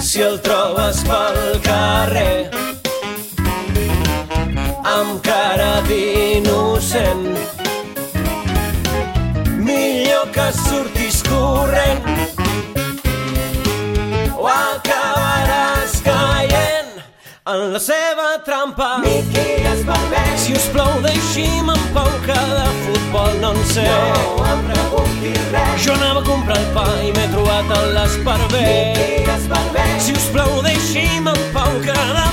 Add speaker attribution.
Speaker 1: si el trobes pel carrer amb cara d'innocent millor que surtis corrent o acabaràs caient en la seva trampa Miqui Esparver si us plou deixi'm en pau que de futbol no en sé no em preguntis res jo anava a comprar el pa i m'he trobat a l'Esparver Miqui Esparver si us plau deixi'm en pau que de